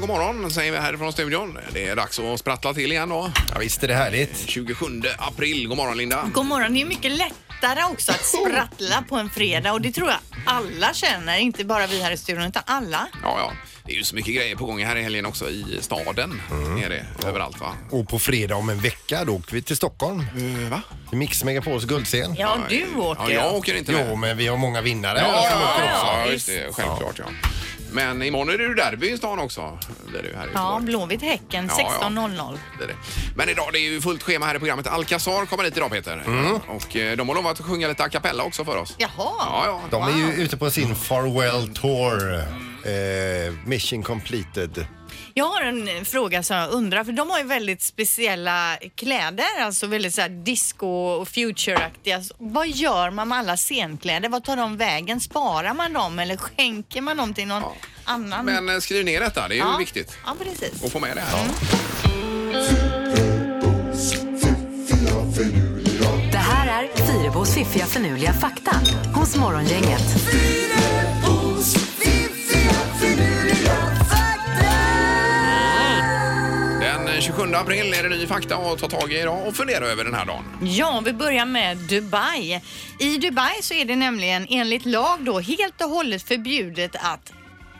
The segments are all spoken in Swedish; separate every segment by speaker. Speaker 1: god morgon säger vi härifrån studion. Det är dags att sprattla till igen då.
Speaker 2: Ja, visst är det härligt.
Speaker 1: 27 april. God morgon Linda.
Speaker 3: God morgon. Det är mycket lättare också att sprattla på en fredag och det tror jag alla känner, inte bara vi här i studion utan alla.
Speaker 1: Ja, ja. Det är ju så mycket grejer på gång här i helgen också i staden.
Speaker 2: Mm.
Speaker 1: Är det överallt va?
Speaker 2: Och på fredag om en vecka då åker vi till Stockholm.
Speaker 1: va?
Speaker 2: Till Mix Megapols guldscen.
Speaker 3: Eh, Ja, du åker.
Speaker 1: Ja, jag åker inte med.
Speaker 2: Jo, men vi har många vinnare.
Speaker 1: Ja,
Speaker 2: som
Speaker 1: ja,
Speaker 2: åker också.
Speaker 1: ja,
Speaker 3: också.
Speaker 1: just det. Självklart, ja. Men imorgon är det ju derby i stan också. Det är det ju här i
Speaker 3: Ja,
Speaker 1: Göteborg.
Speaker 3: Blåvitt-Häcken
Speaker 1: Ja, ja.
Speaker 3: 16.00.
Speaker 1: Det är det. Men idag det är ju fullt schema här i programmet. Alcazar kommer hit idag Peter.
Speaker 2: Mm.
Speaker 1: Och eh, de har lovat att sjunga lite a cappella också för oss.
Speaker 3: Jaha.
Speaker 1: Ja, ja.
Speaker 2: De är ju ute på sin farewell tour. Eh, mission completed.
Speaker 3: Jag har en fråga som jag undrar, för de har ju väldigt speciella kläder, alltså väldigt så här disco och futureaktiga. Vad gör man med alla scenkläder? Vad tar de vägen? Sparar man dem eller skänker man dem till någon
Speaker 1: Ja.
Speaker 3: annan?
Speaker 1: Men eh, skriv ner detta, det är ju viktigt.
Speaker 3: Mm. Ja, precis. Mm.
Speaker 1: Och få med det här.
Speaker 4: Det här är Fyrabos fiffiga förnuliga fakta hos Morgongänget.
Speaker 1: Den eh, 27 april är det ny fakta att ta tag i idag och fundera över den här dagen.
Speaker 3: Ja, vi börjar med Dubai. I Dubai så är det nämligen enligt lag då helt och hållet förbjudet att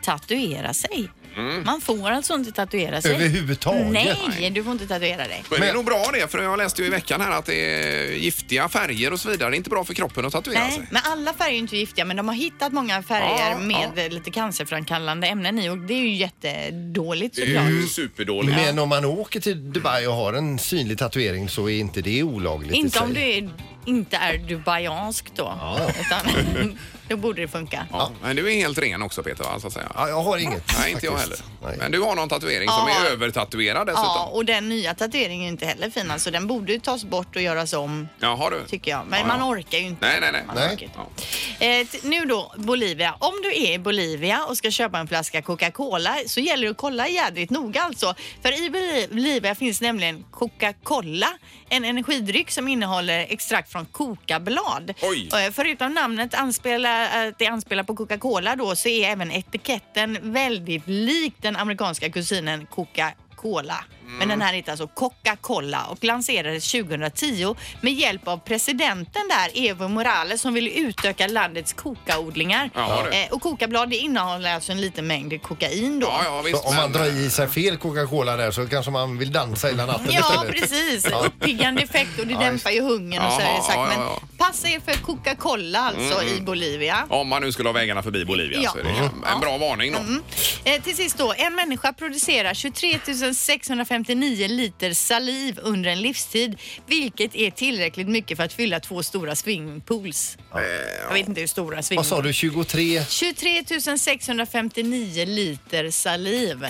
Speaker 3: tatuera sig.
Speaker 1: Mm.
Speaker 3: Man får alltså inte tatuera sig.
Speaker 2: Överhuvudtaget?
Speaker 3: Nej, du får inte tatuera dig.
Speaker 1: Men, det är nog bra det, för jag läste ju i veckan här att det är giftiga färger och så vidare. Det är inte bra för kroppen att tatuera
Speaker 3: Nej,
Speaker 1: sig.
Speaker 3: men alla färger är inte giftiga men de har hittat många färger
Speaker 1: alltså. Ja,
Speaker 3: med lite cancerframkallande ämnen i och det är ju jättedåligt
Speaker 1: Det är
Speaker 3: såklart.
Speaker 1: ju superdåligt.
Speaker 2: Men om man åker till Dubai och har en synlig tatuering så är inte det olagligt i
Speaker 3: Inte
Speaker 2: sig.
Speaker 3: om du är, inte är dubaiansk då. Utan, då borde det funka.
Speaker 1: Ja, men du är helt ren också Peter, va? så att säga.
Speaker 2: Ja, jag har inget.
Speaker 1: Nej, inte jag heller.
Speaker 2: faktiskt. Nej.
Speaker 1: Men du har någon tatuering som
Speaker 3: Ja.
Speaker 1: är övertatuerad dessutom.
Speaker 3: Ja, och den nya tatueringen är inte heller fin alltså. Den borde ju tas bort och göras om
Speaker 1: Jaha du.
Speaker 3: tycker jag. Men
Speaker 1: Ja,
Speaker 3: man
Speaker 1: ja.
Speaker 3: orkar ju inte.
Speaker 1: Nej, nej, nej.
Speaker 3: Man
Speaker 2: Nej.
Speaker 3: orkar inte.
Speaker 1: Ja.
Speaker 3: Eh, t- nu då, Bolivia. Om du är i Bolivia och ska köpa en flaska Coca-Cola så gäller det att kolla jädrigt noga alltså. För i Boli- Bolivia finns nämligen Coca-Cola, en energidryck som innehåller extrakt från kokablad.
Speaker 1: Oj.
Speaker 3: Eh, Förutom namnet anspelar, att det anspelar på Coca-Cola då så är även etiketten väldigt lik den amerikanska kusinen Coca-Cola.
Speaker 1: Mm.
Speaker 3: Men den här heter alltså Coca-Cola och lanserades 2010 med hjälp av presidenten där, Evo Morales, som ville utöka landets kokaodlingar.
Speaker 1: Ja, du.
Speaker 3: Eh, och kokablad det innehåller alltså en liten mängd kokain då.
Speaker 1: Ja, ja, visst.
Speaker 2: Så om man drar i sig fel Coca-Cola där så kanske man vill dansa hela natten
Speaker 3: Ja,
Speaker 2: istället.
Speaker 3: precis. Uppiggande effekt och det dämpar ju hungern och så är
Speaker 1: Jaha,
Speaker 3: det sagt.
Speaker 1: ja, ja,
Speaker 3: Men
Speaker 1: ja. Mm,
Speaker 3: passa er för Coca-Cola alltså i Bolivia.
Speaker 1: eh, Om man nu skulle ha vägarna förbi Bolivia
Speaker 3: Ja. Mm.
Speaker 1: så är det en
Speaker 3: Ja.
Speaker 1: bra varning då.
Speaker 3: Eh, till sist då, en människa producerar 23 659 liter saliv under en livstid, vilket är tillräckligt mycket för att fylla två stora swimmingpools. Jag vet inte hur stora
Speaker 2: Vad sa
Speaker 3: swimmingpools.
Speaker 2: du, 23?
Speaker 3: 23 659 liter saliv.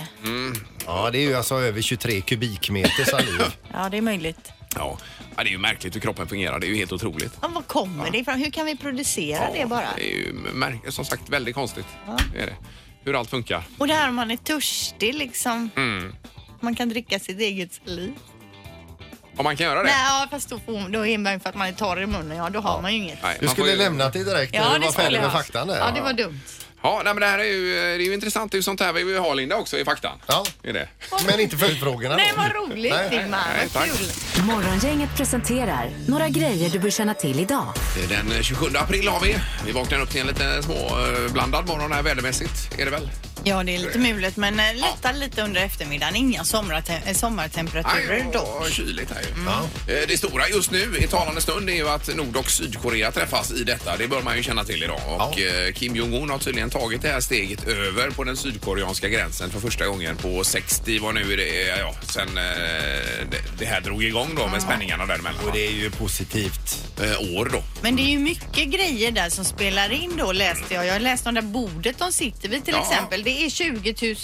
Speaker 2: Ja, det är ju alltså över 23 kubikmeter saliv.
Speaker 3: Ja, det är möjligt.
Speaker 1: Ja. ja, det är ju märkligt hur kroppen fungerar. Det är ju helt otroligt.
Speaker 3: Ja, var kommer det ifrån? Hur kan vi producera det bara?
Speaker 1: Det är ju mär- som sagt väldigt konstigt. Det är det. Hur allt funkar.
Speaker 3: Och det här om man är törstig liksom.
Speaker 2: Mm.
Speaker 3: Man kan dricka sitt eget saliv.
Speaker 1: Om man kan göra det.
Speaker 3: Nej, ja, fast då, får, då är man för att man är torr i munnen. Ja, då har man ju inget.
Speaker 1: Nej,
Speaker 2: Du
Speaker 1: man får
Speaker 2: skulle
Speaker 1: ju-
Speaker 2: lämnat det direkt när du var
Speaker 3: skulle
Speaker 2: färdig
Speaker 3: jag
Speaker 2: med
Speaker 3: ha.
Speaker 2: faktan där.
Speaker 3: Ja, det var dumt.
Speaker 1: Ja, nej, men det här är ju, det är ju intressant. Det är ju sånt här vi vill ha Linda också i faktan.
Speaker 2: Ja.
Speaker 1: Är det?
Speaker 2: Men inte följdfrågorna
Speaker 3: Nej,
Speaker 2: då.
Speaker 3: vad roligt
Speaker 2: Nej.
Speaker 3: Ingmar.
Speaker 1: nej,
Speaker 3: Vad
Speaker 1: tack.
Speaker 3: kul.
Speaker 4: Morgongänget presenterar några grejer du bör känna till idag.
Speaker 1: Den eh, 27 april har vi. Vi vaknar upp till en lite små eh, blandad morgon här vädermässigt. Är det väl?
Speaker 3: Ja, det är lite mulet men eh, lättar lite under eftermiddagen. Inga somrate- eh, sommartemperaturer
Speaker 1: Nej,
Speaker 3: dock.
Speaker 1: och kyligt här ju.
Speaker 3: Mm.
Speaker 1: Eh, Det stora just nu i talande stund är ju att Nord och Sydkorea träffas i detta. Det bör man ju känna till idag. Och eh, Kim Jong-Un har tydligen tagit det här steget över på den sydkoreanska gränsen för första gången på 60, vad nu är det, ja, sen eh, det, det här drog igång då med spänningarna däremellan.
Speaker 2: Och det är ju positivt.
Speaker 1: Eh, år då.
Speaker 3: Men det är ju mycket grejer där som spelar in då läste jag. Jag läste om det där bordet de sitter vid till
Speaker 1: Ja.
Speaker 3: exempel. Det är 20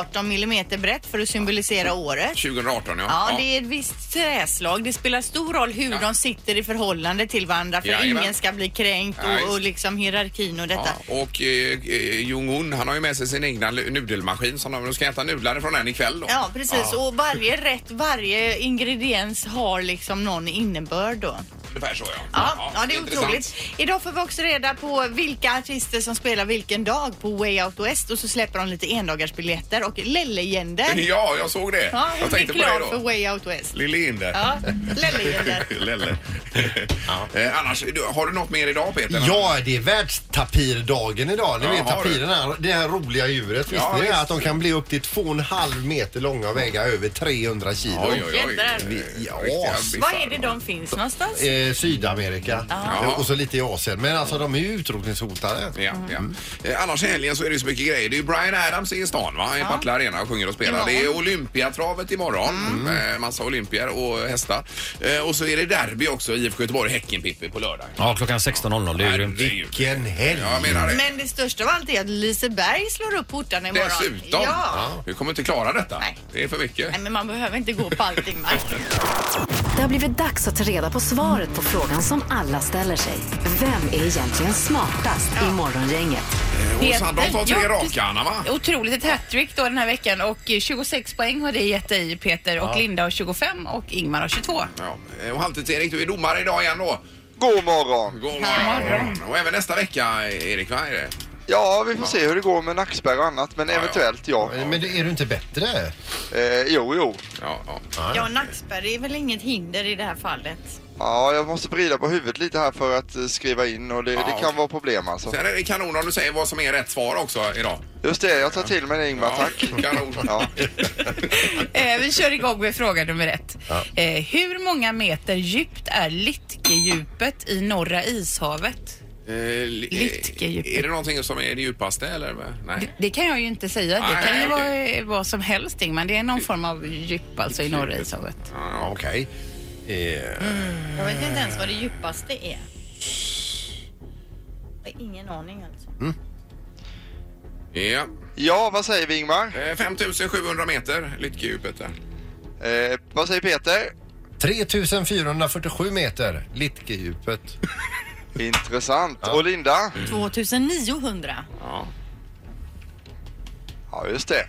Speaker 3: 018 millimeter brett för att symbolisera året.
Speaker 1: 2018 ja.
Speaker 3: Ja, det är ett visst träslag. Det spelar stor roll hur
Speaker 1: Ja.
Speaker 3: de sitter i förhållande till varandra för
Speaker 1: Jajamän.
Speaker 3: ingen ska bli kränkt
Speaker 1: Ja, visst.
Speaker 3: och, och liksom hierarkin och detta.
Speaker 1: Ja, och eh, eh, Jong-Un han har ju med sig sin egna lu- nudelmaskin som de de ska äta nudlar från den ikväll då.
Speaker 3: Ja, precis. Och varje rätt, varje ingrediens har liksom någon innebörd då.
Speaker 1: Ungefär så ja.
Speaker 3: Ja, ja, det är
Speaker 1: intressant.
Speaker 3: otroligt. Idag får vi också reda på vilka artister som spelar vilken dag på Way Out West och så släpper de lite endagarsbiljetter och Lellejänder.
Speaker 1: Ja, jag såg det.
Speaker 3: Ja,
Speaker 1: jag
Speaker 3: hon är
Speaker 1: tänkte på dig
Speaker 3: klar för
Speaker 1: då.
Speaker 3: Way Out West.
Speaker 1: Lille Inder.
Speaker 3: Ja, Lellejänder.
Speaker 1: Lelle. Eh, Annars, du, har du något mer idag Peter?
Speaker 2: Ja, det är världstapirdagen idag. Ni
Speaker 1: Ja,
Speaker 2: vet
Speaker 1: har du?
Speaker 2: tapiren, är det här roliga djuret. Visste
Speaker 1: Ja,
Speaker 2: ni
Speaker 1: visst.
Speaker 2: att de kan bli upp till 2,5 meter långa och väga över 300 kilo?
Speaker 1: Oj, oj, oj.
Speaker 3: Jädrar.
Speaker 1: Eh,
Speaker 2: Ja,
Speaker 1: riktiga
Speaker 2: s-
Speaker 1: biffar.
Speaker 3: Var är det de finns någonstans?
Speaker 2: Eh, Sydamerika
Speaker 1: Ja.
Speaker 2: och så lite i Asien. Men alltså de är ju utrotningshotade.
Speaker 1: Ja, ja.
Speaker 5: Mm.
Speaker 1: Eh, Annars i helgen så är det ju så mycket grejer. Det är ju Brian Adams i stan, va? I Partille Arena och sjunger och spelar.
Speaker 3: Imorgon.
Speaker 1: Det är Olympiatravet imorgon. Mm. Massa olympier och hästar. Eh, Och så är det derby också, IFK Göteborg-Häcken-Pippi på lördag.
Speaker 5: Ja, klockan 16.00. Det är ju
Speaker 1: Herregud.
Speaker 2: Vilken helg!
Speaker 1: Ja, jag menar det.
Speaker 3: Men det största av allt är att Liseberg slår upp portarna imorgon.
Speaker 1: Dessutom.
Speaker 3: Ja.
Speaker 1: Vi kommer inte klara detta.
Speaker 3: Nej.
Speaker 1: Det är för mycket.
Speaker 3: Nej, men man behöver inte gå på allting, Mark.
Speaker 4: Det har blivit dags att ta reda på svaret på frågan som alla ställer sig. Vem är egentligen smartast i Morgongänget?
Speaker 1: Och Sandholt har tre
Speaker 6: Ja,
Speaker 1: raka, Anna, va?
Speaker 6: Otroligt ett hattrick då den här veckan och eh, 26 poäng har det gett dig Peter och Linda har 25 och Ingmar har 22.
Speaker 1: Ja. eh, Och Halvtids-Erik, du är domare idag igen då.
Speaker 7: God morgon!
Speaker 1: God morgon. Och även nästa vecka, Erik, va? Är det?
Speaker 7: Ja, vi får se hur det går med nackspärr och annat, men
Speaker 1: ja.
Speaker 7: eventuellt ja.
Speaker 2: Men är du inte bättre?
Speaker 7: Eh, jo, jo.
Speaker 1: Ja, ja.
Speaker 3: Ja, Nackspärr är väl inget hinder i det här fallet.
Speaker 7: Ja, jag måste vrida på huvudet lite här för att eh, skriva in och det, det
Speaker 1: okej.
Speaker 7: kan vara problem alltså.
Speaker 1: Sen är det kanon om du säger vad som är rätt svar också idag.
Speaker 7: Just det, jag tar till mig det Ingmar, tack.
Speaker 1: Kanon.
Speaker 7: Ja.
Speaker 6: Eh, vi kör igång med fråga nummer ett. Eh, hur många meter djupt är Littkedjupet i Norra ishavet?
Speaker 1: Eh, li-
Speaker 6: Litt är djupare.
Speaker 1: Är det någonting som är det djupaste eller? Nej.
Speaker 6: Det kan jag ju inte säga.
Speaker 1: Nej,
Speaker 6: Det kan ju
Speaker 1: okej.
Speaker 6: vara eh, vad som helst men det är någon form av djup alltså i Norra ishavet.
Speaker 1: Ja,
Speaker 2: Okej. Eh,
Speaker 3: Jag vet inte ens vad det djupaste är. Jag har ingen aning alltså.
Speaker 1: Mm. ja.
Speaker 7: ja, vad säger vi Ingmar?
Speaker 1: Eh, 5700 meter, Lyttkedjupet där.
Speaker 7: Eh, vad säger Peter?
Speaker 2: 3447 meter, Litkedjupet.
Speaker 7: Intressant. Och Linda?
Speaker 3: 2900.
Speaker 1: Ja.
Speaker 7: Ja, just det.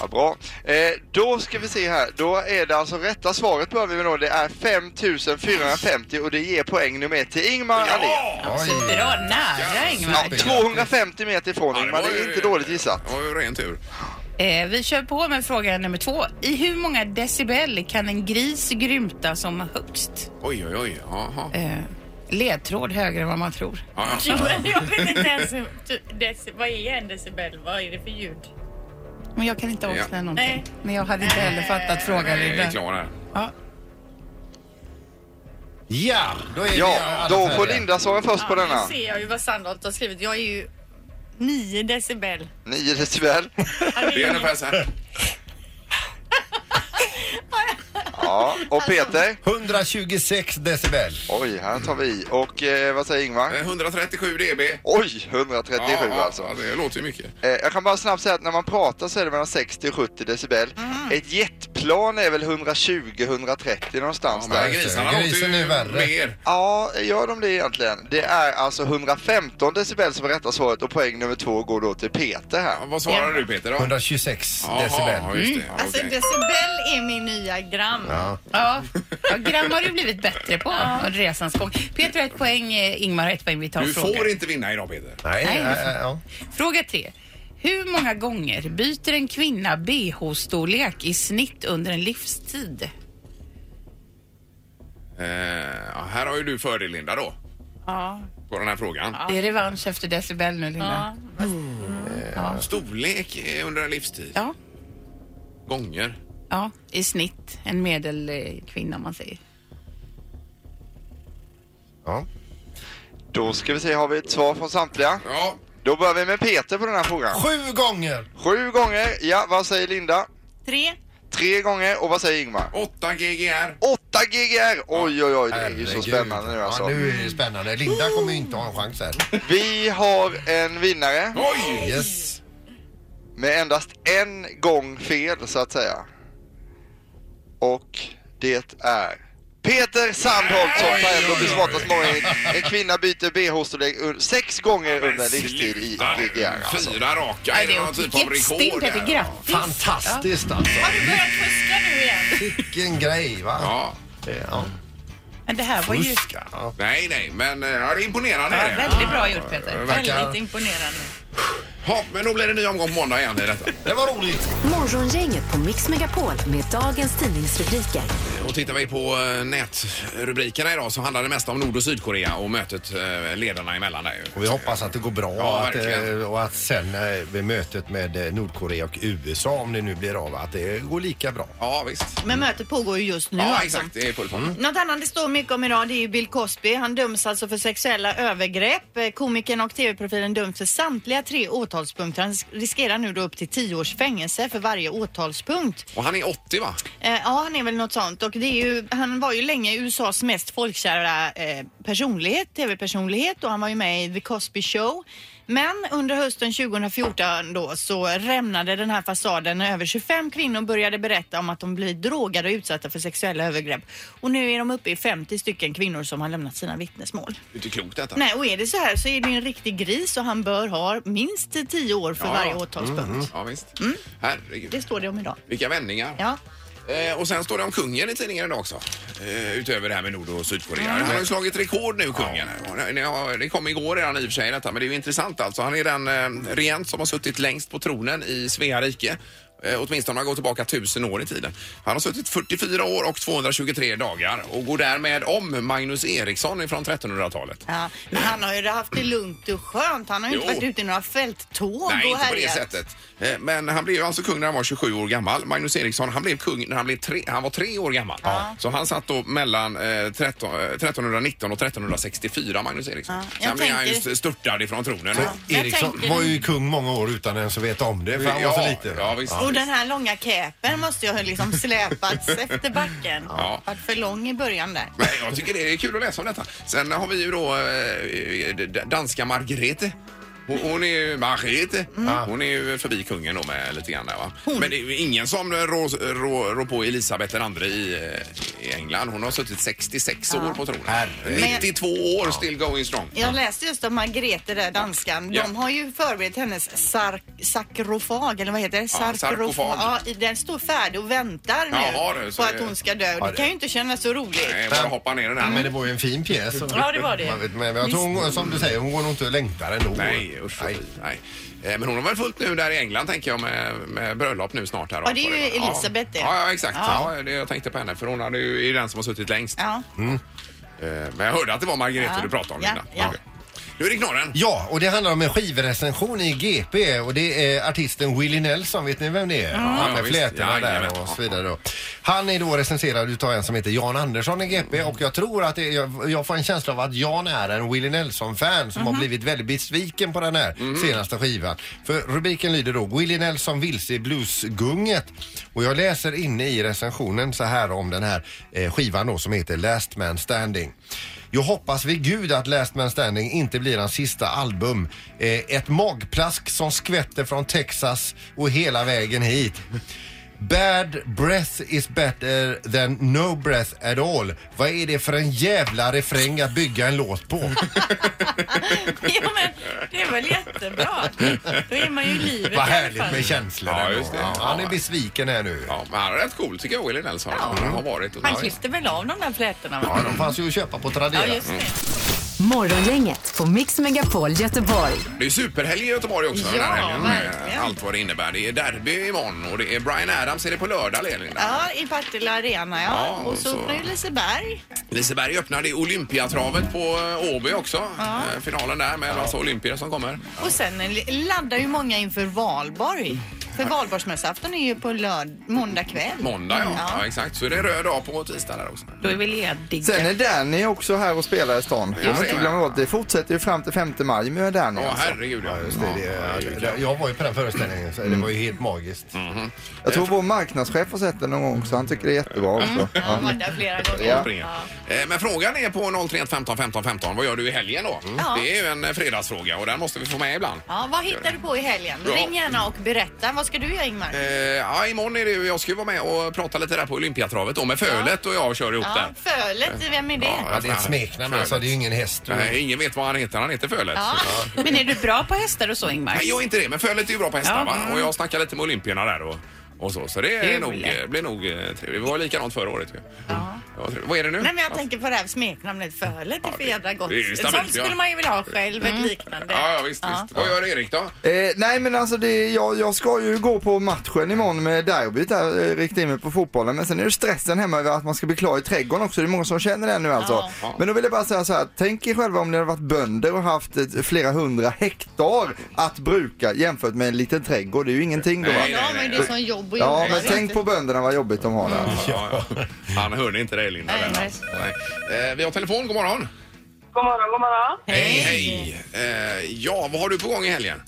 Speaker 7: Ja, bra. Eh, då ska vi se här. Då är det alltså rätta svaret börjar vi med då. Det är 5450 och det ger poäng nummer ett till Ingmar Ahlén.
Speaker 2: Oj.
Speaker 6: Bra, nära
Speaker 7: Ja,
Speaker 6: Ingmar.
Speaker 7: 250 meter ifrån Ingmar, det är inte dåligt gissat.
Speaker 1: Det var ju ren tur.
Speaker 6: Eh, vi kör på med fråga nummer två. I hur många decibel kan en gris grymta som högst?
Speaker 1: Oj, oj, oj. Jaha.
Speaker 6: Eh, ledtråd högre än vad man tror.
Speaker 1: Ja, alltså, ja.
Speaker 8: Jag vet inte ens hur- tu- deci- vad är en decibel? Vad är det för ljud?
Speaker 6: Men jag kan inte avslöja
Speaker 1: Ja.
Speaker 6: någonting.
Speaker 8: Nej.
Speaker 6: Men jag hade inte heller fattat frågan.
Speaker 1: Jag är
Speaker 6: Linda.
Speaker 1: klar här.
Speaker 6: Ja.
Speaker 2: Ja, då är vi
Speaker 7: Ja,
Speaker 2: alla
Speaker 7: då får
Speaker 2: färdiga.
Speaker 7: Linda svara först på denna.
Speaker 8: Nu ser jag ju vad Sandholt har skrivit. Jag är ju 9 decibel.
Speaker 7: 9 decibel.
Speaker 1: Det är ungefär så här.
Speaker 7: Ja, och Peter?
Speaker 2: 126 decibel.
Speaker 7: Oj, här tar vi i. Och eh, vad säger Ingmar?
Speaker 1: Eh, 137 dB.
Speaker 7: Oj, 137
Speaker 1: ja,
Speaker 7: alltså.
Speaker 1: Ja, det låter ju mycket.
Speaker 7: Eh, jag kan bara snabbt säga att när man pratar så är det mellan 60 och 70 decibel. Ett jetplan är väl 120-130 någonstans
Speaker 1: men
Speaker 7: där.
Speaker 1: grisarna
Speaker 2: Grisen
Speaker 1: låter ju
Speaker 2: är värre.
Speaker 1: mer.
Speaker 7: Ja, gör de det egentligen? Det är alltså 115 decibel som är rätta svaret och poäng nummer två går då till
Speaker 1: Ja,
Speaker 7: Peter här.
Speaker 1: Vad svarar du Peter då?
Speaker 2: 126
Speaker 1: Jaha,
Speaker 2: decibel.
Speaker 1: ja, just det. Ja,
Speaker 3: Alltså
Speaker 1: okej.
Speaker 3: decibel är min nya gram.
Speaker 6: Ja. ja, gram har du blivit bättre på under resans gång. Peter har ett poäng, eh, Ingmar har ett poäng. Vi tar
Speaker 1: Du
Speaker 6: fråga.
Speaker 1: får inte vinna idag Peter.
Speaker 2: Nej,
Speaker 6: Nej.
Speaker 2: äh, äh, ja.
Speaker 6: Fråga tre. Hur många gånger byter en kvinna bh-storlek i snitt under en livstid?
Speaker 1: Eh, ja, här har ju du fördel Linda då.
Speaker 6: Ja.
Speaker 1: På den här frågan.
Speaker 6: Det är revansch efter decibel nu, Linda.
Speaker 1: Storlek eh, under en livstid.
Speaker 6: Ja.
Speaker 1: Gånger.
Speaker 6: Ja, i snitt. En medelkvinna om man säger.
Speaker 2: Ja.
Speaker 7: Då ska vi se, har vi ett svar från samtliga?
Speaker 1: Ja,
Speaker 7: Då börjar vi med Peter på den här frågan.
Speaker 2: Sju gånger!
Speaker 7: Sju gånger, ja vad säger Linda?
Speaker 3: Tre.
Speaker 7: Tre gånger och vad säger Ingmar?
Speaker 1: 8 GGR.
Speaker 7: 8 GGR! Oj, oj, oj, det är ju så
Speaker 2: Herregud.
Speaker 7: spännande nu alltså.
Speaker 2: Ja, nu är det spännande. Linda kommer ju inte ha en chans här.
Speaker 7: Vi har en vinnare
Speaker 1: Oj!
Speaker 2: Yes.
Speaker 7: med endast en gång fel så att säga. Och det är Peter Sandholt som tar hem och blir smartast morgon. En kvinna byter bh-storlek un- sex gånger under en livstid i
Speaker 1: Sluta.
Speaker 7: GGR alltså.
Speaker 1: Fyra raka. Är
Speaker 6: Nej,
Speaker 1: det
Speaker 6: det
Speaker 1: någon typ
Speaker 6: är
Speaker 1: av
Speaker 6: vilket stim,
Speaker 1: rekord?
Speaker 6: Peter.
Speaker 1: där?
Speaker 6: Grattis!
Speaker 2: Fantastiskt alltså.
Speaker 8: Har du börjat fuska nu igen?
Speaker 2: Vilken grej va?
Speaker 1: Ja.
Speaker 2: Ja.
Speaker 6: Men det här var ju
Speaker 2: Fuska. Ja.
Speaker 1: Nej, nej, men eh, ja, det är imponerande.
Speaker 6: ja,
Speaker 1: är det.
Speaker 6: väldigt bra gjort Peter.
Speaker 2: Verkar...
Speaker 9: Väldigt imponerande.
Speaker 1: Ja, men då blir det en ny omgång på måndag igen i detta.
Speaker 2: Det var roligt.
Speaker 4: Morgongänget på Mix Megapol med dagens tidningsrubriker.
Speaker 1: Och tittar vi på eh, nätrubrikerna idag så handlar det mest om Nord och Sydkorea och mötet eh, ledarna emellan där ju.
Speaker 2: Och vi hoppas att det går bra
Speaker 1: Ja,
Speaker 2: och, att,
Speaker 1: verkligen.
Speaker 2: eh, och att sen eh, vid mötet med eh, Nordkorea och USA, om det nu blir av, att det går lika bra.
Speaker 1: Ja, visst.
Speaker 3: Men mötet pågår ju just nu
Speaker 1: Ja,
Speaker 3: alltså.
Speaker 1: exakt. Det är fullt mm.
Speaker 3: Något annat det står mycket om idag det är ju Bill Cosby. Han döms alltså för sexuella övergrepp. Eh, Komikern och tv-profilen döms för samtliga tre åtalspunkter. Han s- riskerar nu då upp till tio års fängelse för varje åtalspunkt.
Speaker 1: Och han är 80 va?
Speaker 3: Eh, ja, han är väl något sånt. Och det är ju, han var ju länge USAs mest folkkära eh, personlighet, tv-personlighet och han var ju med i The Cosby Show. Men under hösten 2014 då så rämnade den här fasaden när över 25 kvinnor började berätta om att de blivit drogade och utsatta för sexuella övergrepp. Och nu är de uppe i 50 stycken kvinnor som har lämnat sina vittnesmål.
Speaker 1: Det är inte klokt detta.
Speaker 3: Nej, och är det så här så är det en riktig gris och han bör ha minst 10 år för
Speaker 1: Ja, Mm,
Speaker 3: varje
Speaker 1: ja.
Speaker 3: åtalspunkt.
Speaker 1: Ja, visst.
Speaker 3: Mm. Det
Speaker 1: Herregud.
Speaker 3: står det om idag.
Speaker 1: Vilka vändningar.
Speaker 3: Ja.
Speaker 1: Eh, och sen står det om kungen i tidningen idag också. Eh, utöver det här med Nord och Sydkorea. Han har ju slagit rekord nu, kungen. Ja. Det har- Det kom igår redan i och för sig detta, men det är ju intressant alltså. Han är den eh, regent som har suttit längst på tronen i Svea rike. Eh, åtminstone om man går tillbaka tusen år i tiden. Han har suttit 44 år och 223 dagar och går därmed om Magnus Eriksson från 1300-talet.
Speaker 3: Ja, men han har ju haft det lugnt och skönt. Han har ju inte
Speaker 1: Jo.
Speaker 3: varit ute i några fälttåg
Speaker 1: Nej,
Speaker 3: och
Speaker 1: inte på det
Speaker 3: härjat.
Speaker 1: sättet. Eh, Men han blev alltså kung när han var 27 år gammal. Magnus Eriksson, han blev kung när han, blev tre, han var tre år gammal. Så han satt då mellan eh, 13, eh, 1319 och 1364, Magnus Eriksson. Sen
Speaker 3: jag
Speaker 1: blev han ju
Speaker 3: tänker-
Speaker 1: st- störtad ifrån tronen.
Speaker 2: Men Eriksson
Speaker 3: tänker-
Speaker 2: var ju kung många år utan ens att veta om det, för han var för liten.
Speaker 1: ja, visst.
Speaker 3: Och den här långa käpen måste ju ha liksom släpats efter backen.
Speaker 1: Ja.
Speaker 3: Varit för lång i början där.
Speaker 1: Men jag tycker det är kul att läsa om detta. Sen har vi ju då eh, d- danska Margrethe. Hon, hon är ju Margrethe.
Speaker 2: Mm.
Speaker 1: Hon är ju förbi kungen då med lite grann där va. Men det är ju ingen som rår rå, rå på Elisabeth II i, eh, i England. Hon har suttit 66 år på tronen.
Speaker 2: Herregud.
Speaker 1: 92 år still going strong.
Speaker 3: Jag läste just om Margrethe där, danskan.
Speaker 1: Ja.
Speaker 3: De har ju förberett hennes sark- sakrofag, eller vad heter det?
Speaker 1: Ja, sarkofag.
Speaker 3: Ja, i- den står färdig och väntar nu
Speaker 1: Jaha, du, så
Speaker 3: på att
Speaker 1: det-
Speaker 3: hon ska dö.
Speaker 2: Ja,
Speaker 3: Det
Speaker 2: det-
Speaker 3: kan ju inte kännas så roligt.
Speaker 1: Nej, bara hoppa ner i den här.
Speaker 2: Men det var ju en fin pjäs.
Speaker 9: Ja, det var det.
Speaker 2: Man vet, men jag tror hon, som du säger, hon går nog inte och längtar ändå.
Speaker 1: Nej, usch nej. nej. Eh, Men hon har väl fullt nu där i England tänker jag med, med bröllop nu snart här.
Speaker 3: Ja, det är ju
Speaker 1: Ja.
Speaker 3: Elisabeth det.
Speaker 1: Ja, ja exakt. Ja.
Speaker 3: Ja.
Speaker 1: det jag tänkte på henne för hon hade ju, är ju den som har suttit längst.
Speaker 3: Ja.
Speaker 1: Eh, Men jag hörde att det var Margareta
Speaker 3: Ja.
Speaker 1: du pratade om
Speaker 3: Ja,
Speaker 1: Linda.
Speaker 3: ja.
Speaker 1: Okej. Nu är det knorren.
Speaker 2: Ja, och det handlar om en skivrecension i GP och det är artisten Willie Nelson, vet ni vem det är? Han
Speaker 1: Ja,
Speaker 2: med
Speaker 1: visst.
Speaker 2: flätorna
Speaker 1: Jajamän.
Speaker 2: där och så vidare då. Han är då recenserad utav en som heter Jan Andersson i GP och jag tror att det, jag, jag får en känsla av att Jan är en Willie Nelson-fan som har blivit väldigt besviken på den här senaste skivan. För rubriken lyder då Willie Nelson vilse i bluesgunget och jag läser inne i recensionen så här om den här eh, skivan då som heter Last Man Standing. Jag hoppas vid gud att Last Man Standing inte blir hans sista album. Eh, ett magplask som skvätter från Texas och hela vägen hit. Bad breath is better than no breath at all. Vad är det för en jävla refräng att bygga en låt på?
Speaker 9: Ja, men det är väl jättebra. Då är man ju i livet
Speaker 2: Vad
Speaker 9: i alla
Speaker 2: härligt
Speaker 9: fall.
Speaker 2: med känslor.
Speaker 1: Ja,
Speaker 2: ändå.
Speaker 1: just det.
Speaker 2: Ja, han är besviken här nu.
Speaker 1: Ja, men han är rätt cool tycker jag, Willie Nelson. Han har varit.
Speaker 9: Han klippte väl av de där flätorna? Va?
Speaker 2: Ja, de fanns ju att köpa på Tradera.
Speaker 9: Ja, just
Speaker 1: Mm.
Speaker 9: det.
Speaker 4: Morgongänget på Mix Megapol Göteborg.
Speaker 1: Det är superhelg i Göteborg också. den här
Speaker 3: Ja,
Speaker 1: helgen,
Speaker 3: verkligen.
Speaker 1: Allt vad det innebär. Det är derby imorgon och det är Brian Adams är det på lördag, Linda.
Speaker 3: Ja, i Partille Arena ja.
Speaker 1: Ja,
Speaker 3: och så
Speaker 1: så-
Speaker 3: öppnar ju Liseberg.
Speaker 1: Liseberg öppnar. Det är Olympiatravet på eh, Åby också. Eh, Finalen där med en massa olympier som kommer.
Speaker 3: Och sen laddar ju många inför valborg. För valborgsmässoafton är ju på lörd- måndag kväll.
Speaker 1: Måndag, ja.
Speaker 3: Ja.
Speaker 1: ja. Exakt. Så det är röd dag på tisdag där också.
Speaker 6: Då är vi lediga.
Speaker 10: Sen är Danny också här och spelar i stan.
Speaker 1: Ja,
Speaker 10: Jag får inte
Speaker 1: det.
Speaker 10: glömma bort, det fortsätter ju fram till 5 maj med Danny.
Speaker 1: Ja,
Speaker 10: Alltså.
Speaker 1: herregud. Ja,
Speaker 2: Just det, det, det, jag var ju på den föreställningen, så det var ju helt magiskt.
Speaker 10: Jag tror vår marknadschef har sett den någon gång så han tycker det är
Speaker 1: Mm.
Speaker 10: jättebra också.
Speaker 3: Jag har varit där flera gånger.
Speaker 10: Ja.
Speaker 1: Ja. Eh, Men frågan är på 031 15 15 15. Vad gör du i helgen då?
Speaker 3: Mm. Ja.
Speaker 1: Det är ju en eh, fredagsfråga och den måste vi få med ibland.
Speaker 3: Ja, vad hittar du på i helgen?
Speaker 1: Ja.
Speaker 3: Ring gärna och berätta. Vad ska du göra Ingmar?
Speaker 1: Eh, ja, imorgon är det, ju- jag ska ju vara med och prata lite där på Olympiatravet då med Fölet och jag kör ihop
Speaker 3: Ja,
Speaker 1: där.
Speaker 3: fölet, vem är det?
Speaker 1: Ja,
Speaker 2: Det är ett smeknamn alltså, det är ju ingen häst.
Speaker 1: Nej, ingen vet vad han heter. Han heter Fölet.
Speaker 3: Ja.
Speaker 6: Men är du bra på hästar och så Ingmar?
Speaker 1: Nej, jag är inte det, men Fölet är ju bra på hästar
Speaker 6: Ja.
Speaker 1: va? Och jag snackar lite med Olympierna där och, och så. Så det är
Speaker 6: Kul.
Speaker 1: nog, eh, blir nog eh, trevligt. Det var likadant förra året ju.
Speaker 3: Ja.
Speaker 1: Ja, trevligt. Vad är det nu?
Speaker 3: Nej, men jag tänker på det här smeknamnet Fölet. Det är för jävla gott.
Speaker 1: det är stabilt,
Speaker 3: Sånt
Speaker 1: ja. Mm.
Speaker 3: skulle man ju vilja ha själv, ett liknande.
Speaker 1: Ja, ja, visst, visst. Vad gör Erik då?
Speaker 7: Eh, nej men alltså det, jag, jag ska ju gå på matchen imorgon med derbyt där, eh, rikta in mig på fotbollen. Men sen är det stressen hemma över att man ska bli klar i trädgården också. Det är många som känner det nu alltså.
Speaker 1: Ja.
Speaker 7: Men då vill jag bara säga så här, tänk er själva om ni hade varit bönder och haft eh, flera hundra hektar att bruka jämfört med en liten trädgård. Det är ju ingenting då.
Speaker 1: Nej,
Speaker 7: Va?
Speaker 3: Ja, men det är sån jobb och
Speaker 7: Ja,
Speaker 3: jobb.
Speaker 7: men tänk på bönderna vad jobbigt de har där.
Speaker 1: Ja, ja. Han hörde inte dig Linda.
Speaker 3: Nej,
Speaker 1: där,
Speaker 3: nej.
Speaker 1: alltså. Nej. Eh, Vi har telefon, god morgon.
Speaker 11: God morgon, god morgon.
Speaker 1: Hej, hej. Eh, Ja, vad har du på gång i helgen?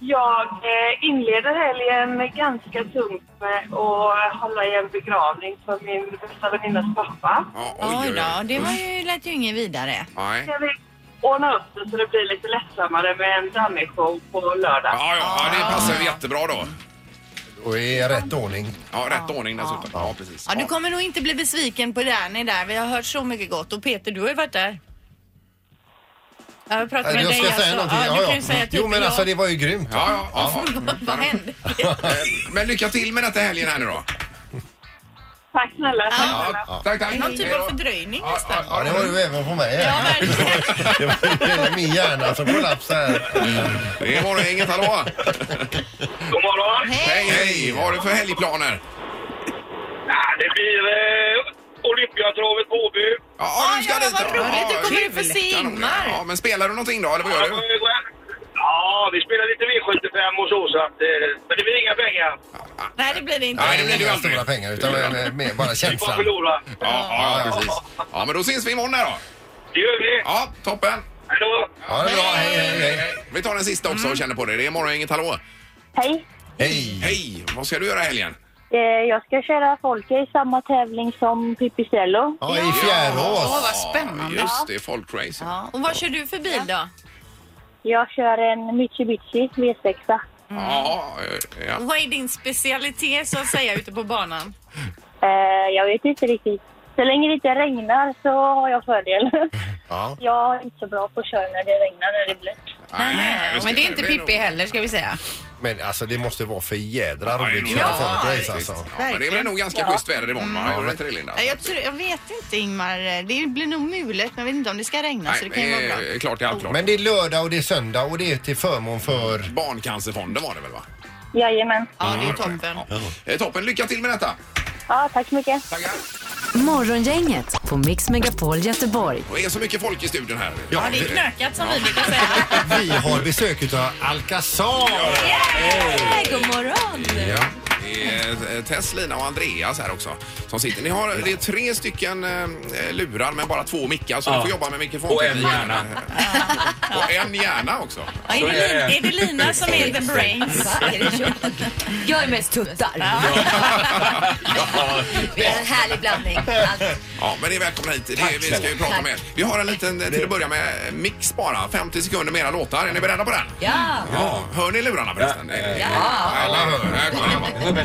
Speaker 11: Jag eh, inleder helgen ganska tungt med att hålla i en begravning för min bästa väninnas pappa.
Speaker 1: Ja,
Speaker 3: Oj då, det var ju, lät ju inget vidare.
Speaker 1: Nej.
Speaker 11: Jag vill ordna upp det så det blir lite lättsammare med en Danny-show på lördag.
Speaker 1: Ja, ja, ja, det passar ju jättebra då.
Speaker 2: Och i rätt ordning.
Speaker 1: Ja, rätt ordning dessutom. Ja, precis.
Speaker 3: Ja, du kommer nog inte bli besviken på Danny där. Vi har hört så mycket gott. Och Peter, du har ju varit där. Jag har pratat med
Speaker 2: Jag
Speaker 3: dig
Speaker 2: ska säga någonting.
Speaker 3: alltså. Ja, du kan ju säga typ
Speaker 2: jo, men
Speaker 3: ja.
Speaker 2: alltså det var ju grymt.
Speaker 1: Ja, ja, ja.
Speaker 3: Vad hände?
Speaker 1: Eh, Men lycka till med detta helgen här nu då.
Speaker 11: Tack snälla, tack snälla.
Speaker 1: Ja, tack, tack.
Speaker 3: Någon typ
Speaker 1: Hej då.
Speaker 3: av fördröjning
Speaker 1: Ja,
Speaker 3: nästan.
Speaker 1: ja,
Speaker 2: Ja, det var ju även på mig.
Speaker 3: Ja, verkligen.
Speaker 2: Det var ju hela min hjärna som kollapsade.
Speaker 1: Det är morgongänget, hallå!
Speaker 11: God morgon.
Speaker 1: Hej, hej! Vad har du för helgplaner?
Speaker 11: det blir eh, Olympiatravet på Åby.
Speaker 1: Ja, du ska
Speaker 3: ja,
Speaker 1: dit
Speaker 3: vad
Speaker 1: då.
Speaker 3: roligt. Du kommer
Speaker 1: ja,
Speaker 3: du få se
Speaker 1: kanon. Ja,
Speaker 3: Ingmar.
Speaker 1: men spelar du någonting då, eller vad gör du?
Speaker 11: Ja, vi spelar lite V75 och så, så att, eh, men det blir inga pengar.
Speaker 3: Nej, det blir det inte.
Speaker 1: Nej, det blir det ju
Speaker 2: Inga
Speaker 1: alltid.
Speaker 2: stora pengar, utan eh, mer bara
Speaker 11: Vi får
Speaker 2: känslan.
Speaker 11: förlora.
Speaker 1: Ja, ja, ja, precis. Ja, men då ses vi imorgon här då.
Speaker 11: Det gör vi.
Speaker 1: Ja, toppen.
Speaker 11: Hej då.
Speaker 2: Ja, det är bra. Hej, hej,
Speaker 1: Hej,
Speaker 2: hej.
Speaker 1: hej. Vi tar den sista också och känner på det. Det är morgongänget, hallå!
Speaker 12: Hej.
Speaker 2: Hej.
Speaker 1: Hej! Vad ska du göra i helgen?
Speaker 12: Eh, Jag ska köra Folke i samma tävling som Pipistrello.
Speaker 2: Ja, i
Speaker 6: Åh,
Speaker 2: Fjärås.
Speaker 6: vad spännande.
Speaker 1: Just det, folkrace.
Speaker 3: Ja, och vad kör du för bil då?
Speaker 12: Jag kör en Mitsubishi V6.
Speaker 1: Ja, eh, ja.
Speaker 3: Vad är din specialitet så att säga ute på banan?
Speaker 12: Eh, Jag vet inte riktigt. Så länge det inte regnar så har jag fördel.
Speaker 2: Ja.
Speaker 12: Jag är inte så bra på att köra när det regnar, när det är blött.
Speaker 1: Nej, nej, just
Speaker 6: Men det är inte
Speaker 1: Det nog-
Speaker 6: Pippi heller ska vi säga.
Speaker 2: Men alltså det måste vara för jädra
Speaker 1: Ja,
Speaker 2: roligt att
Speaker 1: det
Speaker 2: köra
Speaker 1: är nog-
Speaker 2: folkrace
Speaker 1: Ja,
Speaker 2: alltså.
Speaker 1: Ja, men det blir nog ganska schysst väder imorgon, va? alltså. Gör det inte det, Linda?
Speaker 3: Nej, Eh, Jag, tror, jag vet inte Ingmar. Eh, Det blir nog mulet men jag vet inte om det ska regna så det kan ju vara bra.
Speaker 1: Nej, eh, klart det är allt klart.
Speaker 2: Men det är lördag och det är söndag och det är till förmån för...
Speaker 1: Barncancerfonden var det väl, va?
Speaker 12: Jajamän.
Speaker 3: Ja, det är toppen.
Speaker 1: Eh, Toppen, lycka till med detta!
Speaker 12: Ja, tack så mycket.
Speaker 1: Tackar!
Speaker 4: Morgongänget på Mix Megapol Göteborg.
Speaker 1: Och Det är så mycket folk i studion här.
Speaker 3: Ja, det är knökat som vi brukar säga.
Speaker 2: Vi har besök utav Alcazar!
Speaker 13: God morgon!
Speaker 1: Ja. Det är eh, Tess, Lina och Andreas här också. Som sitter. Ni har, det är tre stycken eh, lurar men bara två mickar så ni får jobba med mikrofon.
Speaker 9: Och en hjärna.
Speaker 1: och en hjärna också.
Speaker 3: Ja, är, det Lina, är det Lina som är the brains?
Speaker 13: Jag är mest tuttar. Vi är en härlig blandning.
Speaker 1: Ja, men det är välkomna hit. Det, är- vi ska ju prata med er. Vi har en liten, eh, till att börja med, eh, mix bara. 50 sekunder med era låtar. Är ni beredda på den?
Speaker 13: Ja!
Speaker 1: Ja. Hör ni lurarna förresten? Ja. Alla hör. Här kommer den bara.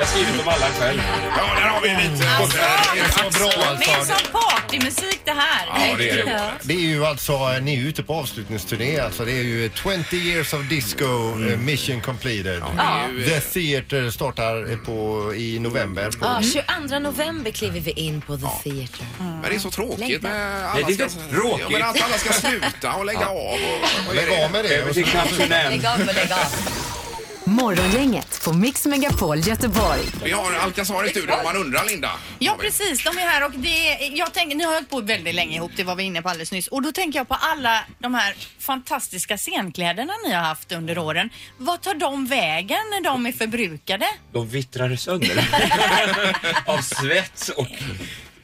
Speaker 9: Jag skriver dem alla själv.
Speaker 1: Ja, där har vi lite. Det är så bra.
Speaker 3: Det är som partymusik det här.
Speaker 1: Ja, det är det.
Speaker 2: alltså. Det är ju alltså, eh, ni är ute på avslutningsturné alltså. Det är ju 20 years of disco, eh, mission completed.
Speaker 1: Mm. det är ju,
Speaker 2: The Theater startar eh, på, i november. På,
Speaker 13: Ja, 22 november kliver vi in på The Theatre.
Speaker 1: Men det är så tråkigt
Speaker 13: Längtan.
Speaker 1: med alla
Speaker 9: Nej, det är
Speaker 1: ska,
Speaker 9: inte tråkigt.
Speaker 1: Ja, men att alla ska sluta och lägga av. Och, och,
Speaker 2: Lägg av med det. Och så,
Speaker 9: knappt
Speaker 13: Lägg av, lägg av.
Speaker 4: Morgongänget på Mix Megapol Göteborg.
Speaker 1: Vi har Alcazar i studion man undrar, Linda.
Speaker 3: Ja, precis. De är här och det är, jag tänker, ni har hållit på väldigt länge ihop, det var vi inne på alldeles nyss. Och då tänker jag på alla de här fantastiska scenkläderna ni har haft under åren. Vad tar de vägen när de är förbrukade?
Speaker 14: De vittrar sönder av svett och...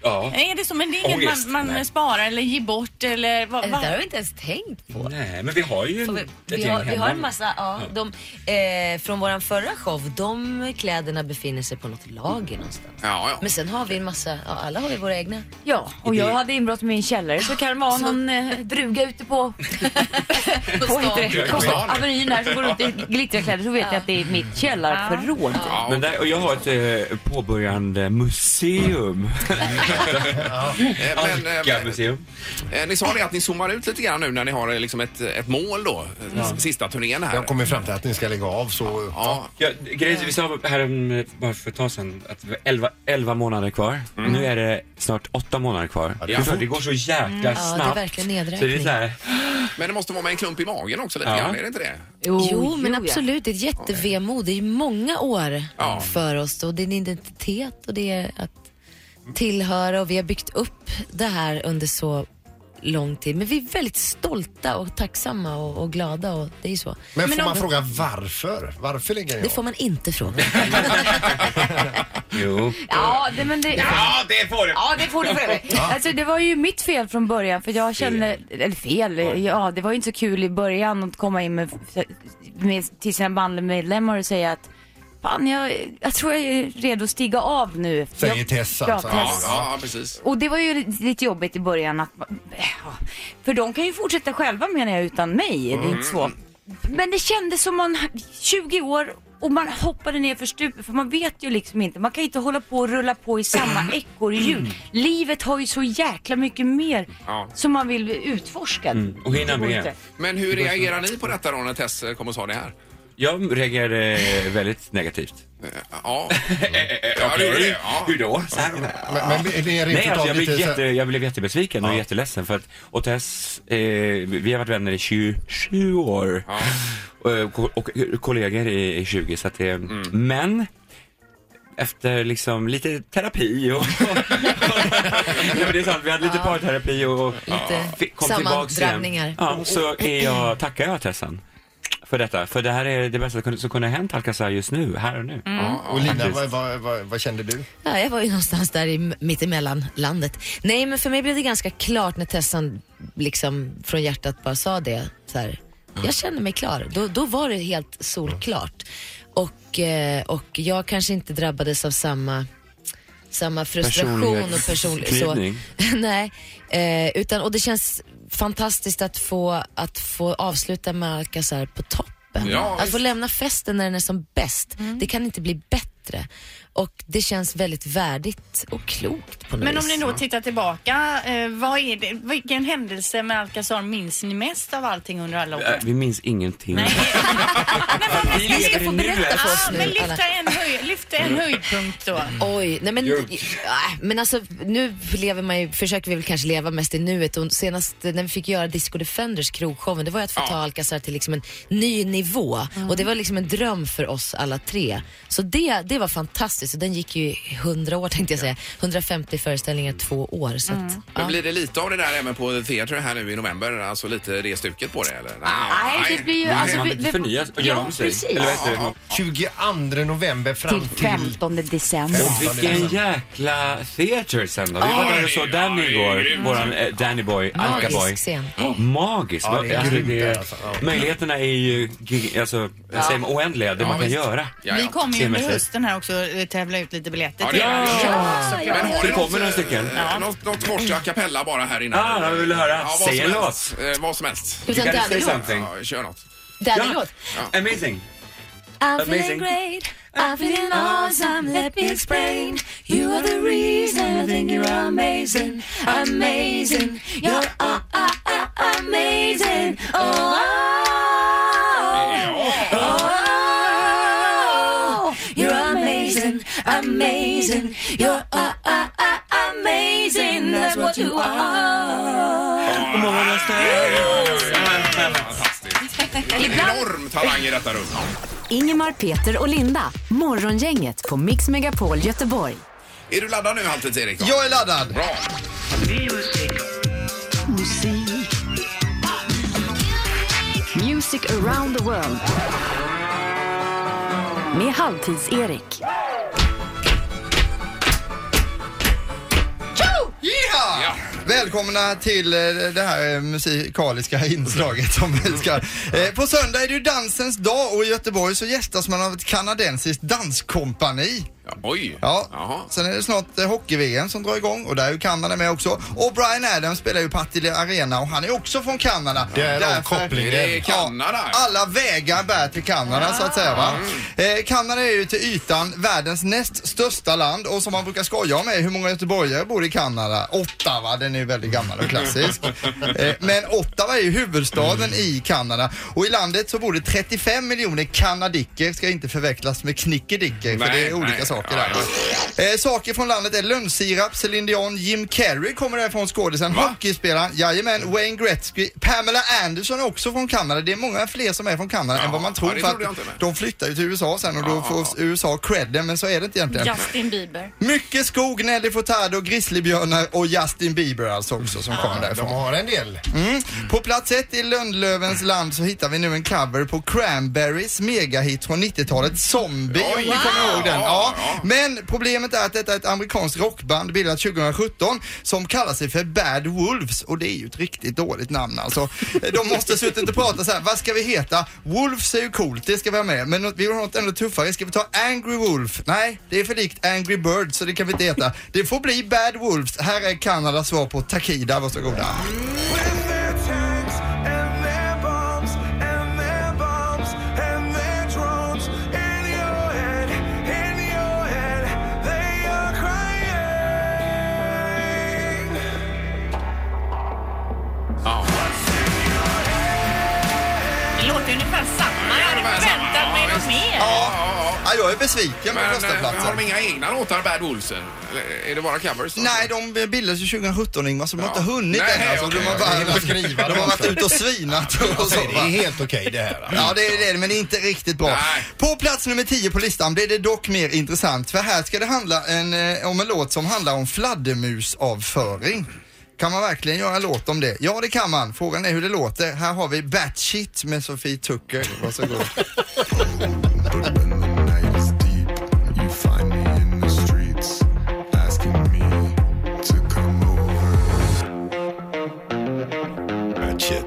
Speaker 14: Ja.
Speaker 3: Är det så? Men det är inget
Speaker 14: Ångest,
Speaker 3: man, man
Speaker 14: nej.
Speaker 3: sparar eller ger bort eller vad?
Speaker 13: Det
Speaker 3: vad-
Speaker 13: där har vi inte ens tänkt på.
Speaker 14: Nej, men vi har ju
Speaker 13: Får
Speaker 14: en,
Speaker 13: vi,
Speaker 14: ett
Speaker 13: vi,
Speaker 14: gäng
Speaker 13: har, vi har en
Speaker 14: hemma.
Speaker 13: massa, ja,
Speaker 14: Ja.
Speaker 13: de, eh, från våran förra show, de kläderna befinner sig på något lager någonstans. Men sen har vi en massa, ja, alla har vi våra egna.
Speaker 12: Ja, och jag hade inbrott i min källare så kan det vara någon eh, druga ute på... på heter det?
Speaker 14: På stan.
Speaker 12: Avenyn här som går runt i glitterkläder så vet jag att det är mitt källarförråd.
Speaker 14: Men där, och jag har ett eh, påbörjande museum.
Speaker 1: Eh, Men, eh,
Speaker 14: Anka-museum.
Speaker 13: mm,
Speaker 1: eh, ni sa det att ni zoomar ut lite grann nu när ni har eh, liksom ett, ett mål då, eh, s- sista turnén här.
Speaker 2: Jag kommer fram till att ni ska lägga av så...
Speaker 1: Ja.
Speaker 14: Ja, grejen är att vi sa här um, bara för ett tag sedan att det var 11, 11 månader kvar. Nu är det snart 8 månader kvar.
Speaker 1: det är
Speaker 14: det,
Speaker 1: fort.
Speaker 14: det går så
Speaker 1: Mm.
Speaker 14: jäkla
Speaker 1: Ja, det är
Speaker 14: snabbt.
Speaker 13: verkligen
Speaker 14: Så det är
Speaker 13: nedräkning.
Speaker 14: så här,
Speaker 1: Men det måste vara med en klump i magen också lite
Speaker 14: Ja.
Speaker 1: grann, är det inte det?
Speaker 13: Jo, men absolut, det är ett jättevemod. Det är ju många år
Speaker 1: Ja.
Speaker 13: för oss och det är en identitet och det är att tillhöra och vi har byggt upp det här under så lång tid. Men vi är väldigt stolta och tacksamma och, och glada och det är ju så.
Speaker 2: Men får man fråga varför? Varför lägger ni
Speaker 13: Det får man inte fråga.
Speaker 14: Jo.
Speaker 12: Ja, det, men det...
Speaker 14: Ja, det får du!
Speaker 12: Ja, det får du för övrigt. Alltså, det var ju mitt fel från början för jag kände, eller fel, ja det var ju inte så kul i början att komma in med, med till sina bandmedlemmar och säga att fan jag, jag tror jag är redo att stiga av nu.
Speaker 2: Säger
Speaker 12: jag,
Speaker 2: Tess
Speaker 12: Ja,
Speaker 2: alltså.
Speaker 12: Tess.
Speaker 1: Ja, ja, precis.
Speaker 12: Och det var ju lite jobbigt i början att, eh, ja, för de kan ju fortsätta själva menar jag utan mig, det är inte så. Men det kändes som man, 20 år och man hoppade ner för stupen för man vet ju liksom inte, man kan inte hålla på och rulla på i samma ekorrhjul. Livet har ju så jäkla mycket mer
Speaker 1: Ja.
Speaker 12: som man vill utforska.
Speaker 14: Mm, och hinna
Speaker 12: Det går
Speaker 14: med.
Speaker 12: inte.
Speaker 1: Men hur reagerar ni på detta då när Tess eh, kom och sa det här?
Speaker 14: Jag reagerade väldigt negativt.
Speaker 1: Ja.
Speaker 14: Okej,
Speaker 1: det gjorde det, ja.
Speaker 14: hur då? Så här,
Speaker 2: Men- men är det rent
Speaker 14: Nej,
Speaker 2: utav
Speaker 14: alltså, jag, blev
Speaker 2: lite så-
Speaker 14: jätte, jag blev jättebesviken och jätteledsen för att och Tess, eh, vi har varit vänner i 20, 20 år och, eh, ko- och kollegor i, i 20 så att det, men efter liksom lite terapi och... Nej, men det är sant, vi hade lite parterapi och fick- kom tillbaks
Speaker 13: sammandrabbningar.
Speaker 14: igen. Ja, så är jag, tackar jag Tessan för detta, för det här är det bästa som kunde- som kunde ha hänt Alcazar just nu, här och nu.
Speaker 2: Ja, och Lina,
Speaker 14: Faktiskt.
Speaker 2: vad, vad, vad, vad kände du?
Speaker 13: Ja, jag var ju någonstans där i mittemellan landet. Nej, men för mig blev det ganska klart när Tessan liksom från hjärtat bara sa det så här. Jag känner mig klar. Då, då var det helt solklart. Och, eh, och jag kanske inte drabbades av samma, samma frustration och personlig... Så,
Speaker 14: Personlighetsklyvning.
Speaker 13: nej, eh, utan, och det känns fantastiskt att få, att få avsluta med Alcazar på toppen. Alltså,
Speaker 9: Ja,
Speaker 13: att få lämna festen när den är som bäst.
Speaker 3: Mm.
Speaker 13: Det kan inte bli bättre. Och det känns väldigt värdigt och klokt på något
Speaker 3: Men om
Speaker 13: vis.
Speaker 3: ni då tittar tillbaka, eh, vad är det, vilken händelse med Alcazar minns ni mest av allting under alla år?
Speaker 14: Äh, Vi minns ingenting.
Speaker 3: Vi ska
Speaker 13: få berätta för oss
Speaker 14: Alltså,
Speaker 3: ah,
Speaker 13: nu,
Speaker 3: Men lyfta
Speaker 13: alla.
Speaker 3: en, höj, lyfta en höjdpunkt då.
Speaker 13: Oj, nej men,
Speaker 3: Djupt.
Speaker 13: nej, men alltså nu lever man ju, försöker vi väl kanske leva mest i nuet och senast när vi fick göra Disco Defenders krogshowen, det var ju att få ta Alcazar till liksom en ny nivå
Speaker 3: Mm.
Speaker 13: och det var liksom en dröm för oss alla tre. Så det, det var fantastiskt och den gick ju i 100 år tänkte jag säga, 150 föreställningar två år. Så
Speaker 3: Mm.
Speaker 13: att,
Speaker 1: Men blir det lite av det där även på Theatre här nu i november? Alltså lite det stuket på det eller?
Speaker 12: Nej, det blir ju- alltså, vi- vi- Ja, precis.
Speaker 2: Ja, 22 november fram
Speaker 12: Till
Speaker 2: till...
Speaker 12: 15 december.
Speaker 14: Och vilken jäkla theater sen då. Vi var där och såg Danny igår, våran eh, Danny Boy, Anka
Speaker 13: Magisk
Speaker 14: Boy.
Speaker 13: scen.
Speaker 14: Magisk.
Speaker 2: Ja, det är
Speaker 14: Alltså,
Speaker 2: grymt
Speaker 14: det-
Speaker 2: där, alltså. Ja.
Speaker 14: Möjligheterna är ju gig- alltså,
Speaker 3: Ja.
Speaker 14: ja. säger man, oändliga, det
Speaker 1: Ja,
Speaker 14: man kan
Speaker 1: visst.
Speaker 14: göra.
Speaker 3: Vi kommer ju under
Speaker 14: Scenmässigt.
Speaker 3: hösten här också eh, tävla ut lite biljetter
Speaker 14: Ja, det
Speaker 3: till
Speaker 14: gör vi.
Speaker 3: er.
Speaker 14: Ja, ja,
Speaker 1: Men har
Speaker 14: Det
Speaker 1: ni
Speaker 14: kommer
Speaker 1: något,
Speaker 14: några stycken. Ah,
Speaker 1: eh, Något, något kort a cappella bara här innan.
Speaker 14: Ja, jag vill höra.
Speaker 1: vad
Speaker 14: Säg
Speaker 1: som
Speaker 14: en
Speaker 1: helst. Eh, Vad som helst.
Speaker 13: Utan You gotta say Daddy-låt. something.
Speaker 1: Ja, kör något.
Speaker 13: Daddy-låt.
Speaker 14: Ja. Amazing.
Speaker 13: I'm
Speaker 14: Amazing.
Speaker 13: feeling great, I'm feeling awesome, let me explain. You are the reason I think you're amazing, amazing. You're a- a- a- amazing. Oh, oh, oh, oh. You're amazing, amazing. You're a- a- a- amazing, that's what you are.
Speaker 1: Fantastiskt. Enorm talang i detta rum.
Speaker 4: Ingemar, Peter och Linda. Morgongänget på Mix Megapol Göteborg.
Speaker 1: Är du laddad nu Halvtids-Erik?
Speaker 2: Jag är laddad.
Speaker 1: Bra.
Speaker 4: Musik. Music around the world. Med Halvtids-Erik.
Speaker 2: Ja.
Speaker 7: Välkomna till eh, det här eh, musikaliska inslaget som vi ska... Eh, På söndag är det ju dansens dag och i Göteborg så gästas man av ett kanadensiskt danskompani.
Speaker 1: Oj!
Speaker 7: Ja, sen är det snart eh, hockey-VM som drar igång och där är ju Kanada med också. Och Brian Adams spelar ju Partille Arena och han är också från Kanada.
Speaker 2: Det är
Speaker 7: Därför-
Speaker 2: kopplingen.
Speaker 1: Det är Kanada.
Speaker 7: Ja, alla vägar bär till Kanada så att säga va. Eh, Kanada är ju till ytan världens näst största land och som man brukar skoja om är hur många göteborgare bor i Kanada? Åtta va, den är ju väldigt gammal och klassisk. Eh, Men Ottawa är ju huvudstaden
Speaker 1: Mm.
Speaker 7: i Kanada och i landet så bor det 35 miljoner kanadicker, ska inte förväxlas med knickedicker för
Speaker 1: Nej,
Speaker 7: det är olika
Speaker 1: nej.
Speaker 7: saker
Speaker 1: Ja,
Speaker 7: där. Eh, saker från landet är lönnsirap, Celine Dion, Jim Carrey kommer därifrån skådisen, hockeyspelaren, jajamän, Wayne Gretzky, Pamela Anderson är också från Kanada. Det är många fler som är från Kanada än vad man tror
Speaker 1: det
Speaker 7: för
Speaker 1: trodde jag
Speaker 7: att
Speaker 1: inte med.
Speaker 7: de flyttar ju till USA sen och då får USA credden men så är det inte egentligen.
Speaker 9: Justin Bieber.
Speaker 7: Mycket skog, Nelly Furtado, grizzlybjörnar och Justin Bieber alltså också som kommer därifrån.
Speaker 2: De har en del.
Speaker 7: Mm. På plats ett i Lönnlövens land så hittar vi nu en cover på Cranberries megahit från 90-talet, Zombie, om ni kommer ihåg den. Ja. Men problemet är att detta är ett amerikanskt rockband bildat 2017 som kallar sig för Bad Wolves och det är ju ett riktigt dåligt namn alltså. De måste ha suttit och pratat så här, vad ska vi heta? Wolves är ju coolt, det ska vi ha med, men något- vi vill ha något ändå tuffare. Ska vi ta Angry Wolf? Nej, det är för likt Angry Bird så det kan vi inte heta. Det får bli Bad Wolves. Här är Kanadas svar på Takida, varsågoda.
Speaker 9: Det låter ungefär samma. Jag hade väntat mig något mer.
Speaker 7: Ja, jag är besviken på
Speaker 1: Men eh,
Speaker 7: förstaplatsen.
Speaker 1: har de inga egna låtar, Bad Olsen? Eller Är det bara covers?
Speaker 7: Nej, de bildades ju 2017 Ingmar, så de har inte hunnit
Speaker 1: Nej,
Speaker 7: än. Alltså,
Speaker 1: okej,
Speaker 7: de har
Speaker 1: okej.
Speaker 7: bara
Speaker 1: Skriva
Speaker 7: de
Speaker 1: dem
Speaker 7: har varit
Speaker 1: också.
Speaker 7: ute och svinat och så.
Speaker 2: Alltså, det är
Speaker 7: va?
Speaker 2: helt okej det här.
Speaker 7: Ja, det är det, men det är inte riktigt bra. På plats nummer 10 på listan blir det dock mer intressant, för här ska det handla en, eh, om en låt som handlar om fladdermusavföring. Kan man verkligen göra en låt om det? Ja, det kan man. Frågan är hur det låter. Här har vi Batshit med Sofie Tucker. Varsågod.
Speaker 2: Bad shit.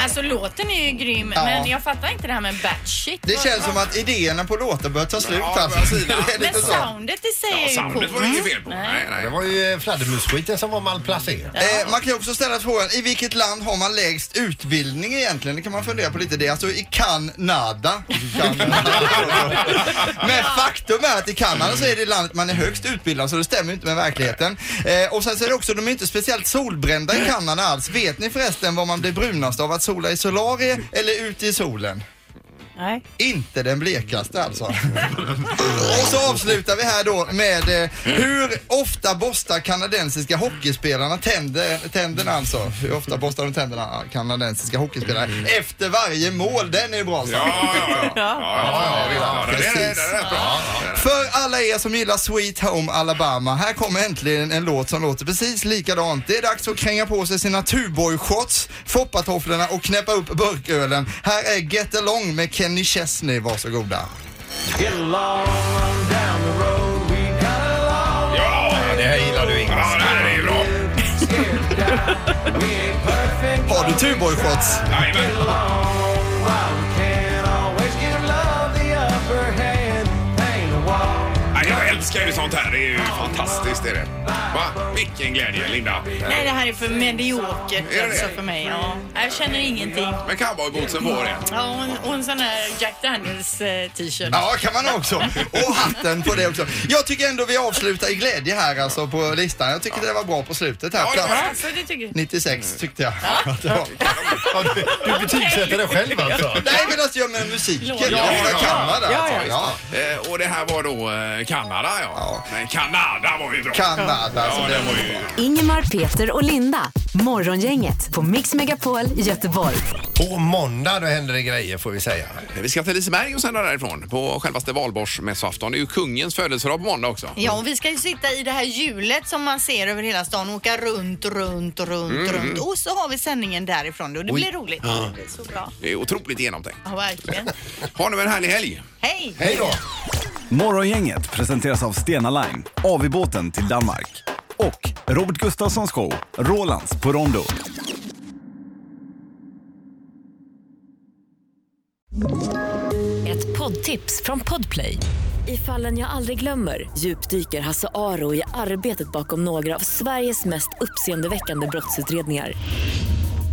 Speaker 9: Alltså låten är ju grym,
Speaker 7: Ja.
Speaker 9: men jag fattar inte det här med batshit.
Speaker 7: Det
Speaker 9: Vad-
Speaker 7: känns som
Speaker 9: vad-
Speaker 7: att idéerna på låtar börjar ta slut.
Speaker 1: det
Speaker 7: alltså.
Speaker 1: börjar sina.
Speaker 7: Det är
Speaker 9: Men
Speaker 7: lite så.
Speaker 9: soundet i sig är ju coolt. Mm.
Speaker 2: Det var ju eh, fladdermusskiten som var malplacerad.
Speaker 7: Eh, man kan ju också ställa frågan, i vilket land har man lägst utbildning egentligen? Det kan man fundera på lite. Det är alltså i Kanada. Men faktum är att i Kanada så är det landet man är högst utbildad så det stämmer ju inte med verkligheten. Eh, och sen så är det också, de är inte speciellt solbrända i Kanada alls. Vet ni förresten vad man blir brunast av? Att sola i solarie eller ute i solen?
Speaker 9: Nej.
Speaker 7: Inte den blekaste alltså. Och så avslutar vi här då med eh, hur ofta borstar kanadensiska hockeyspelarna tänder, tänderna alltså? Hur ofta borstar de tänderna ah, kanadensiska hockeyspelare? Efter varje mål, den är ju bra alltså. så.
Speaker 1: Ja, det är- det är- det är rätt bra.
Speaker 7: För alla er som gillar Sweet Home Alabama, här kommer äntligen en låt som låter precis likadant. Det är dags att kränga på sig sina Tuborg-shorts, foppatofflorna och knäppa upp burkölen. Här är Get Along med Kenny Chesney, varsågoda.
Speaker 2: Ja, det här gillar du Ingmar.
Speaker 1: Ja, det här är bra.
Speaker 7: Har du Tuborg-shorts?
Speaker 1: Jajamän. Nej, Jag älskar ju sånt här. Det är ju fantastiskt. Är det. Va? Vilken glädje, Linda.
Speaker 9: Nej, det här är för mediokert alltså för mig. Ja. Jag känner ingenting.
Speaker 1: Men cowboybootsen på det.
Speaker 9: Ja, och, en, och en sån här Jack Daniels eh, t-shirt.
Speaker 7: Ja, kan man också. Och hatten på det också. Jag tycker ändå vi avslutar i glädje här alltså på listan. Jag tycker det var bra på slutet här.
Speaker 9: Ja,
Speaker 7: Plats
Speaker 9: så det tycker jag.
Speaker 7: 96 tyckte jag att det var.
Speaker 2: Du betygsätter det själv alltså.
Speaker 7: Nej, men alltså jag menar musiken.
Speaker 1: Ja,
Speaker 7: Jag kan vara där.
Speaker 1: ja,
Speaker 7: alltså.
Speaker 1: ja. Eh, Och det här var då eh, Kanada Kanada ja. Men Kanada var ju bra.
Speaker 7: Kanada,
Speaker 1: Ja,
Speaker 7: alltså,
Speaker 1: den
Speaker 7: den
Speaker 1: var ju...
Speaker 4: Ingemar, Peter och Linda. Morgongänget på Mix Megapol Göteborg.
Speaker 15: På måndag då händer det grejer får vi säga.
Speaker 1: Vi ska till Liseberg och sända därifrån på självaste valborgsmässoafton. Det är ju kungens födelsedag på måndag också.
Speaker 3: Ja, och vi ska ju sitta i det här hjulet som man ser över hela stan och åka runt, runt, runt,
Speaker 1: Mm.
Speaker 3: runt. Och så har vi sändningen därifrån då. Det
Speaker 1: Oj.
Speaker 3: blir roligt.
Speaker 1: Ja.
Speaker 3: Det blir så bra.
Speaker 1: Det är otroligt genomtänkt.
Speaker 3: Ja, verkligen.
Speaker 1: Ha nu en härlig helg!
Speaker 3: Hej!
Speaker 16: Morgongänget presenteras av Stena Line, AV-båten till Danmark och Robert Gustafssons show Rolands på Rondo.
Speaker 17: Ett poddtips från Podplay. I fallen jag aldrig glömmer djupdyker Hasse Aro i arbetet bakom några av Sveriges mest uppseendeväckande brottsutredningar.